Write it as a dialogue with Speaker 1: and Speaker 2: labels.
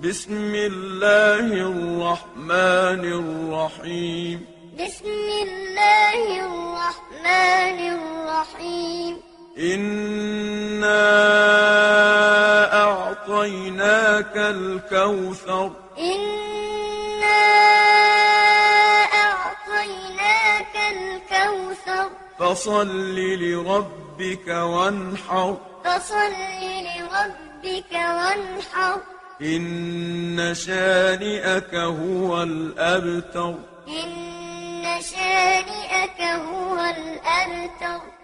Speaker 1: بسم الله الرحمن الرحيم
Speaker 2: بسم الله الرحمن الرحيم
Speaker 1: إنا أعطيناك الكوثر
Speaker 2: إنا أعطيناك الكوثر
Speaker 1: فصل لربك وانحر
Speaker 2: فصل لربك وانحر
Speaker 1: إن شانئك هو الأبتر
Speaker 2: إن شانئك هو الأبتر